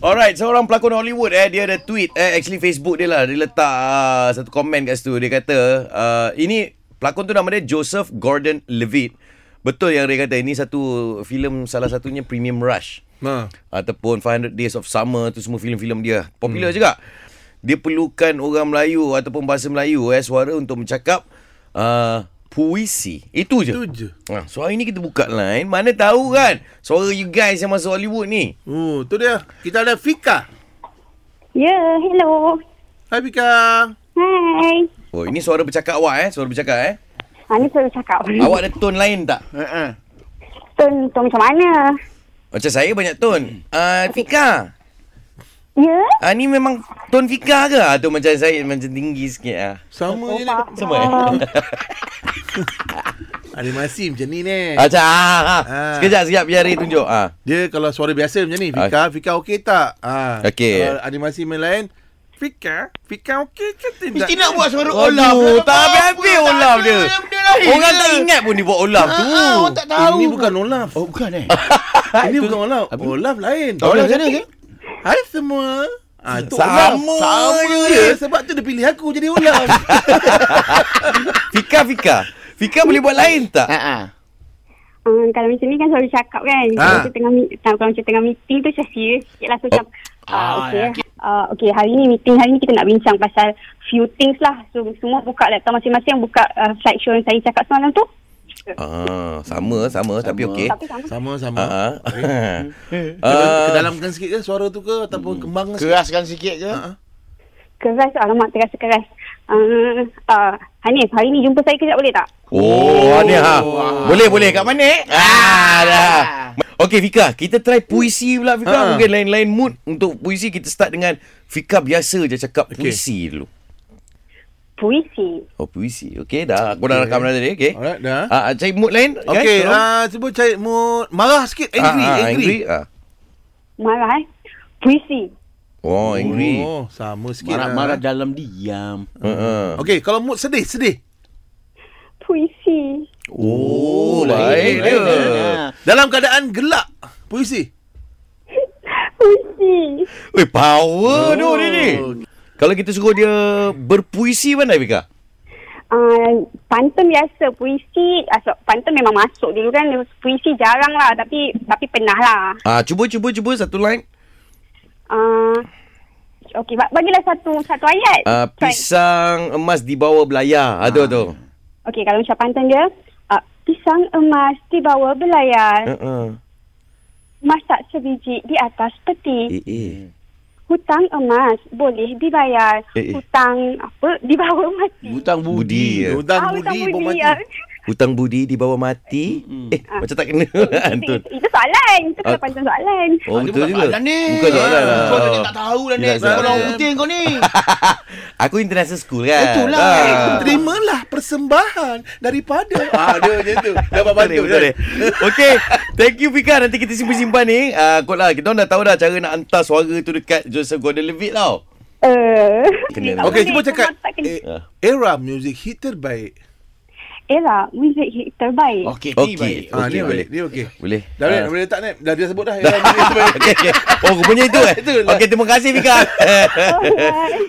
Alright, seorang pelakon Hollywood eh dia ada tweet eh actually Facebook dia lah dia letak uh, satu komen kat situ dia kata uh, ini pelakon tu nama dia Joseph Gordon-Levitt. Betul yang dia kata ini satu filem salah satunya Premium Rush Ha. ataupun 500 Days of Summer tu semua filem-filem dia popular hmm. juga. Dia perlukan orang Melayu ataupun bahasa Melayu eh suara untuk bercakap uh, puisi. Itu je. Itu je. Ha, so hari ni kita buka line Mana tahu kan Suara you guys yang masuk Hollywood ni Oh, tu dia. Kita ada Fika. Ya, hello. Hai Fika. Hai. Oh ini suara bercakap awak eh Suara bercakap eh Ha, ni selalu cakap. Awak ada tone lain tak? Ha ah. Tun, tun macam mana? Macam saya banyak tone uh, Fika Ya? uh, Ni memang tone Fika ke? Ah, Tu macam saya macam tinggi sikit ah. Oh, Sama je ni. Sama eh? Ah. Animasi Ah, macam ni ni. Macam ah, ah. Ah. Sekejap sekejap biar dia tunjuk ah. Dia kalau suara biasa macam ni, Fika, Fika okey tak? Ha. Okey. Kalau animasi main lain, Fika, Fika okey ke tidak? Mesti nak buat suara Olaf Aduh, tak habis-habis Olaf dia. Orang tak ingat pun dia buat Olaf tu. Ah, orang tak tahu Ini bukan Olaf. Oh bukan eh Ini bukan Olaf. Olaf lain. Olaf macam mana je Hai semua. Ah, itu Sama Olaf. Sama je. je. Sebab tu dia pilih aku jadi Olaf. Fika Fika. Fika boleh buat lain tak? Haa Um, kalau macam ni kan selalu cakap kan. Ha. Ha. Kalau, tengah, mi- tak, kalau macam tengah meeting tu macam serius sikit lah. So macam, Ah, ah, okay. yakin. Ah, okay, hari ni meeting hari ni kita nak bincang pasal few things lah. So semua buka laptop masing-masing buka uh, slideshow yang saya cakap semalam tu. Ah, sama sama, tapi okey. Tapi sama. Sama-sama. Ah. ah. Uh, Ah. kedalamkan sikit ke suara tu ke ataupun kembang ke? Keraskan sikit ke Ha. Keras, alamak terasa keras. Uh, uh, Hanif, hari ni jumpa saya kejap boleh tak? Oh, ada ha. Boleh boleh kat mana eh? Ah, dah. Okey Fika, kita try puisi pula Fika. Ha. Mungkin lain-lain mood untuk puisi kita start dengan Fika biasa je cakap Okey. puisi dulu. Puisi. Oh puisi. Okey dah. Aku dah rakam dah tadi. Okey. Alright, dah. Ah, cari mood lain guys. Okey, Tolong. ah cuba cari mood marah sikit, angry, Ah, ah, angry. ah. Marah eh? Puisi. Oh, angry. Oh. Oh, sama sikit. lah. Marah-marah dalam diam Uh-uh. Okey, kalau mood sedih, sedih. Puisi. Oh, baik Lain, dia. lain, lain, ah. Dalam keadaan gelak, puisi. Puisi. Weh, power oh. tu Oh. dia ni. Kalau kita suruh dia berpuisi pandai Fika? Uh, pantun biasa puisi uh, so- pantun memang masuk dulu kan puisi jarang lah tapi tapi pernah lah Ah, cuba cuba cuba satu line. uh, okey ba- bagilah satu satu ayat Ah, Try. pisang emas di bawah belayar. Ah, tu tu. okey kalau macam pantun dia uh, pisang emas di bawah belayar Uh-uh. masak sebiji di atas peti Eh, eh. hutang emas boleh dibayar Eh, eh. hutang apa di bawah mati Butang Budi. budi Ya. Hutang Ah, hutang budi, bom mati. ah. Hutang budi di bawah mati. Eh, macam tak kena. itu, Antun. itu, itu soalan itu Ah. kena pantun soalan Oh, Ah, dia betul bukan juga. soalan ni. Bukan soalan. Ah, Kau Oh. ni tak tahu lah ni. Yelah, Kau yelah. orang putih kau ni. Aku international school kan. Itulah. Ah. Terimalah persembahan daripada. ah, dia macam tu. Dapat Betul bantu. kan. betul dia. Okay Thank you Fika Nanti kita simpan-simpan ni uh, Kot lah Kita orang dah tahu dah Cara nak hantar suara tu Dekat Joseph Gordon-Levitt tau uh, Kena tak lah. Okey, boleh, cuba cakap semua tak kena. eh, era music hit terbaik. Era muzik hit terbaik. Okey, Okey. ni baik. Ah, Okey, ni boleh. boleh, ni okey. Boleh Dah boleh, Ah. dah boleh letak ni. Dah dia sebut dah. Era music terbaik. lah. okay, okay. Oh rupanya itu eh Itulah. Okay terima kasih Fika Alright.